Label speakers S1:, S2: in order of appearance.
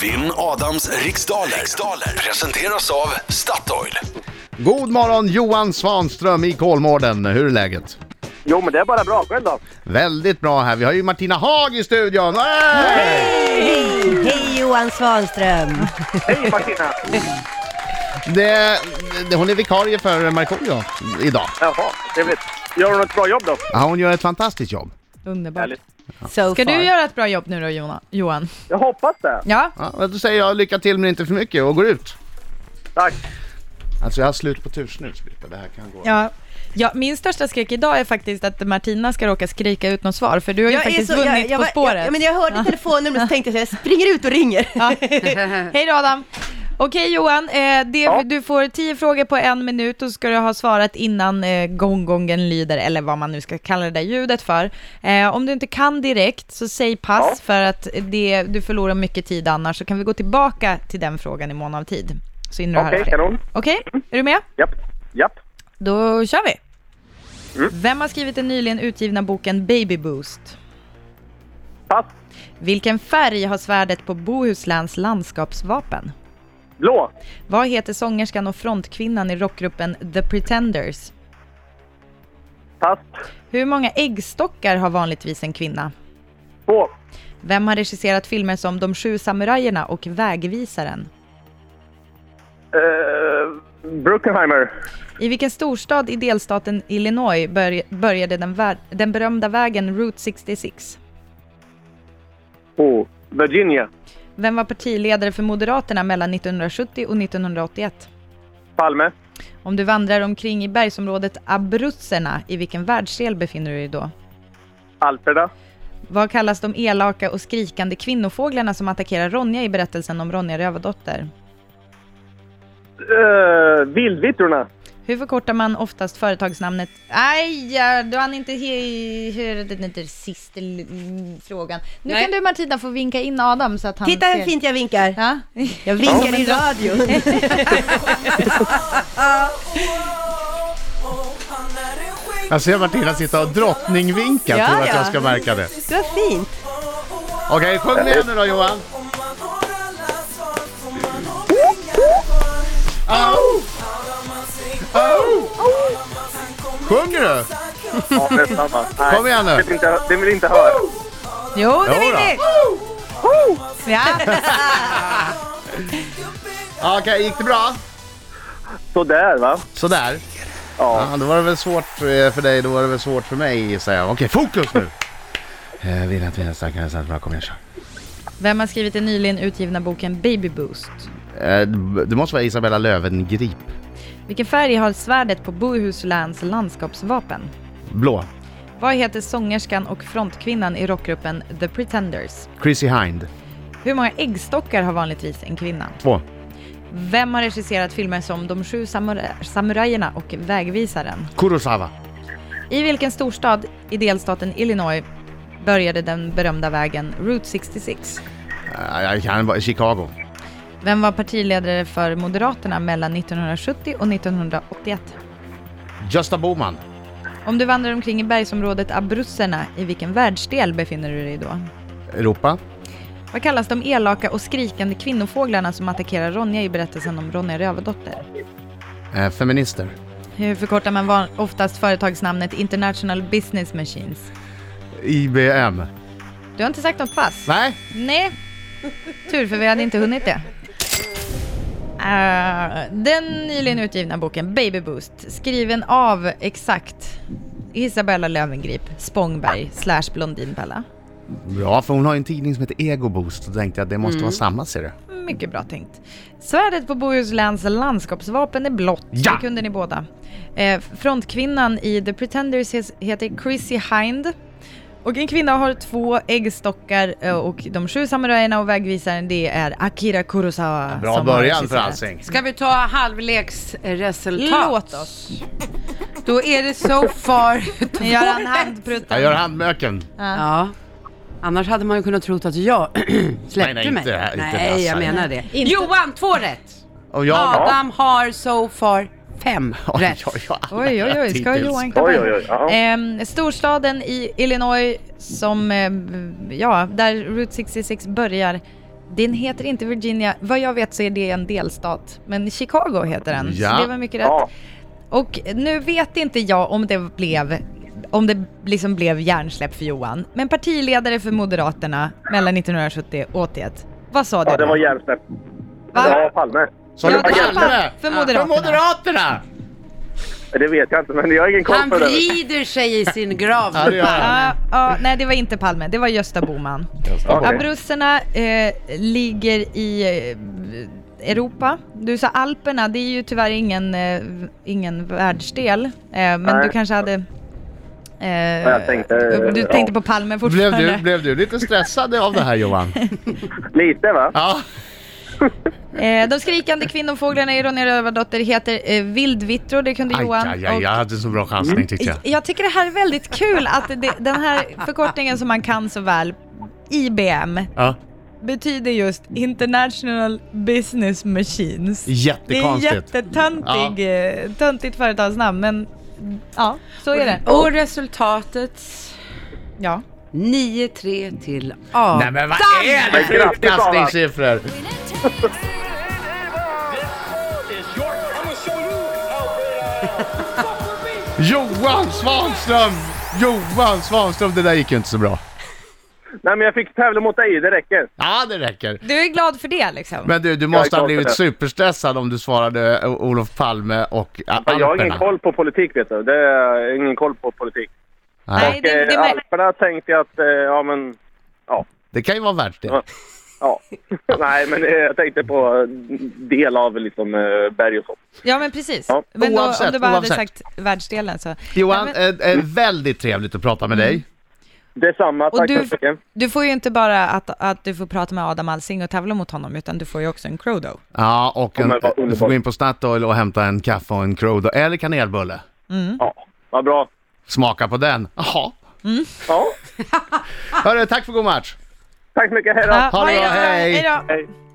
S1: Vinn Adams riksdaler. riksdaler presenteras av Statoil.
S2: God morgon Johan Svanström i Kolmården, hur är läget?
S3: Jo, men det är bara bra. Själv då?
S2: Väldigt bra här, vi har ju Martina Haag i studion! Hey!
S4: Hej! Hej Johan Svanström!
S3: Hej Martina!
S2: Det, det, hon är vikarie för Markoolio idag.
S3: Jaha, trevligt. Gör hon ett bra jobb då?
S2: Ja, hon gör ett fantastiskt jobb.
S5: Underbart.
S3: Härligt.
S4: So far.
S5: Ska du göra ett bra jobb nu då Jona- Johan?
S3: Jag hoppas det.
S5: Ja?
S2: Ja, då säger jag lycka till men inte för mycket och går ut.
S3: Tack.
S2: Alltså jag har slut på tursnus Britta, det här kan gå.
S5: ja. Ja, min största skräck idag är faktiskt att Martina ska råka skrika ut något svar, för du har ju
S4: Jag är
S5: faktiskt
S4: så-
S5: vunnit
S4: jag
S5: På
S4: var-
S5: spåret.
S4: Jag, men jag hörde telefonnumret och tänkte jag så här, jag springer ut och ringer.
S5: Ja. Hej då Adam! Okej Johan, eh, det,
S3: Ja.
S5: du får tio frågor på en minut och ska du ha svarat innan eh, gonggongen lyder, eller vad man nu ska kalla det där ljudet för. Eh, om du inte kan direkt, så säg pass
S3: Ja.
S5: för att det, du förlorar mycket tid annars, så kan vi gå tillbaka till den frågan i mån av tid. Så hinner du
S3: Okej,
S5: höra det.
S3: kanon.
S5: Okej, är du med?
S3: Japp. Japp.
S5: Då kör vi! Vem har skrivit den nyligen utgivna boken Baby Boost?
S3: Pass.
S5: Vilken färg har svärdet på Bohusläns landskapsvapen?
S3: Blå.
S5: Vad heter sångerskan och frontkvinnan i rockgruppen The Pretenders?
S3: Pass.
S5: Hur många äggstockar har vanligtvis en kvinna?
S3: Två.
S5: Vem har regisserat filmer som De sju samurajerna och Vägvisaren?
S3: Uh, Bruckenheimer.
S5: I vilken storstad i delstaten Illinois bör- började den, vär- den berömda vägen Route 66?
S3: Oh. Virginia.
S5: Vem var partiledare för Moderaterna mellan 1970 och 1981?
S3: Palme.
S5: Om du vandrar omkring i bergsområdet Abruzerna, i vilken världsdel befinner du dig då?
S3: Alperna.
S5: Vad kallas de elaka och skrikande kvinnofåglarna som attackerar Ronja i berättelsen om Ronja Rövardotter?
S3: Uh, Vildvittrorna.
S5: Hur förkortar man oftast företagsnamnet? Aj, ja, du hann inte he- höra den där sista l- l- frågan. Nu
S4: Nej.
S5: kan du Martina få vinka in Adam så att han
S4: Titta
S5: ser.
S4: hur fint jag vinkar.
S5: Ja.
S4: Jag vinkar i radion.
S2: Jag ser Martina sitta och drottningvinka,
S5: Ja,
S2: tror att
S5: ja.
S2: jag ska märka det.
S4: Det var fint.
S2: Okej, sjung med nu då Johan! Au! Au! Sjunger du?
S3: Ja, nästan va? Nej,
S2: Kom igen nu.
S3: Det vill inte, det vill inte höra.
S5: Jo, det vill
S2: Jodå.
S5: vi! Ja.
S2: Ja, Okej, gick det bra?
S3: Sådär va?
S2: Sådär.
S3: Ja.
S2: Ja, då var det väl svårt eh, för dig, då var det väl svårt för mig säger jag. Okej, fokus nu! Eh, Vill att vi är starkare än bra, kom igen kör.
S5: Vem har skrivit den nyligen utgivna boken Baby Boost?
S2: Eh, Det måste vara Isabella Löwengrip.
S5: Vilken färg har svärdet på Bohusläns landskapsvapen?
S2: Blå.
S5: Vad heter sångerskan och frontkvinnan i rockgruppen The Pretenders?
S2: Chrissy Hind.
S5: Hur många äggstockar har vanligtvis en kvinna?
S2: Två.
S5: Vem har regisserat filmer som De sju samura- samurajerna och Vägvisaren?
S2: Kurosawa.
S5: I vilken storstad i delstaten Illinois började den berömda vägen Route 66?
S2: Eh, Jag kan bara Chicago.
S5: Vem var partiledare för Moderaterna mellan 1970 och 1981?
S2: Gösta Boman.
S5: Om du vandrar omkring i bergsområdet Abruzerna, i vilken världsdel befinner du dig då?
S2: Europa.
S5: Vad kallas de elaka och skrikande kvinnofåglarna som attackerar Ronja i berättelsen om Ronja Rövardotter?
S2: Eh, Feminister.
S5: Hur förkortar man van- oftast företagsnamnet International Business Machines?
S2: IBM.
S5: Du har inte sagt något pass?
S2: Nej,
S5: Nej. Tur, för vi hade inte hunnit det. Eh, den nyligen utgivna boken Baby Boost, skriven av exakt Isabella Löwengrip Spångberg slash Blondinbella.
S2: bra för hon har ju en tidning som heter Ego Boost. Då tänkte jag att det
S5: Mm.
S2: måste vara samma ser du.
S5: Mycket bra tänkt. Svärdet på Bohusläns landskapsvapen är blått.
S2: Ja!
S5: Det kunde ni båda. Eh, frontkvinnan i The Pretenders hes- heter Chrissy Hind. Och en kvinna har två äggstockar eh, och de sju samurajerna och vägvisaren det är Akira Kurosawa.
S2: Bra
S5: som har
S2: början för
S5: regisserat.
S2: allsing.
S6: Ska vi ta halvleksresultat?
S5: Låt oss.
S6: Då är det so far
S5: Ni gör en handprutt.
S2: Jag gör handmöken.
S6: Ja. Annars hade man ju kunnat tro att jag
S2: Nej,
S6: släppte
S2: nej,
S6: mig.
S2: inte här, inte
S6: nej, jag
S2: dassa.
S6: menar det. Johan, två rätt!
S2: Och jag
S6: Adam har so far fem
S2: Oj,
S6: rätt.
S2: oj, oj. alla
S5: Oj, oj, oj, ska
S2: hittills.
S5: Johan
S3: Oj,
S5: komma?
S3: oj, oj. Ja.
S5: Ehm, ehm, storstaden i Illinois som, eh, ja, där Route 66 börjar, Den heter inte Virginia. Vad jag vet så är det en delstat. Men Chicago heter den.
S2: Ja.
S5: Så det var mycket rätt.
S3: Ja.
S5: Och nu vet inte jag om det blev om det liksom blev hjärnsläpp för Johan, men partiledare för Moderaterna mellan 1970 och 81. Vad sa du?
S3: ja, det var hjärnsläpp. Det var Palme.
S2: Sa
S5: Ja,
S2: du Palme?
S5: Palme för Moderaterna.
S2: För Moderaterna!
S3: Det vet jag inte, men jag har ingen koll
S6: Han
S3: på det.
S6: vrider sig i sin grav.
S2: Ja, det gör han.
S5: Ja, ja, nej, det var inte Palme, det var Gösta Bohman.
S3: Okej.
S5: Abruzerna eh, ligger i eh, Europa. Du sa Alperna, det är ju tyvärr ingen, eh, ingen världsdel. Eh, men
S3: Nej.
S5: du kanske hade... Eh,
S3: jag tänkte, eh,
S5: du tänkte
S3: ja.
S5: på Palme
S2: Blev
S5: fortfarande.
S2: du, blev du lite stressad av det här Johan?
S3: Lite va?
S2: Ja.
S5: Eh, de skrikande kvinnofåglarna i Ronja Rövardotter heter eh, vildvittror, det kunde
S2: Aj,
S5: Johan.
S2: aj, aj,
S5: Och- Mm.
S2: jag hade så bra chansning tyckte jag.
S5: Jag tycker det här är väldigt kul att det, den här förkortningen som man kan så väl, IBM,
S2: Ja.
S5: betyder just International Business Machines. Det är
S2: Jättekonstigt.
S5: jättetöntig, eh, töntigt företagsnamn men ja, så är det.
S6: Och resultatet
S5: Ja.
S6: 9-3 till A.
S2: Nej men vad är det för
S3: Grattis, Adam.
S2: uppkastningssiffror? Johan Svanström! Johan Svanström, det där gick ju inte så bra.
S3: Nej, men jag fick tävla mot dig, det räcker.
S2: Ja, det räcker.
S5: Du är glad för det liksom?
S2: Men du, du
S3: är
S2: måste ha
S3: glad för
S2: blivit
S3: det.
S2: superstressad om du svarade eh, Olof Palme och eh,
S3: Jag har ingen
S2: Alperna.
S3: koll på politik vet du. Det är ingen koll på politik.
S5: Nej, det, det,
S3: Eh,
S5: men,
S3: Alperna tänkte jag att, eh, ja men, ja.
S2: Det kan ju vara värt det.
S3: Ja. ja. Nej men eh, jag tänkte på eh, del av liksom eh, berg och så.
S5: ja men precis.
S3: Ja,
S5: Men då, om
S2: oavsett,
S5: du bara
S2: oavsett.
S5: hade sagt världsdelen så.
S2: Johan,
S5: Nej, Mm. men-
S2: eh,
S3: Mm.
S2: eh, väldigt trevligt att prata med dig.
S3: Detsamma,
S5: Och
S3: tack så
S5: du,
S3: mycket.
S5: du får ju inte bara att, att du får prata med Adam Alsing och tävla mot honom, utan du får ju också en Crodo.
S2: Ja, och
S3: Ja,
S2: en,
S3: men vad
S2: du får
S3: underbart.
S2: gå in på Statoil och hämta en kaffe och en Crodo eller kanelbulle.
S5: Mm.
S3: Ja, vad bra.
S2: Smaka på den. Jaha.
S3: Ja,
S2: Hörru, tack för god match.
S3: tack så mycket, hej då.
S5: Ja,
S2: Ha det bra,
S5: bra.
S2: hej.
S5: Hej då!
S3: Hej.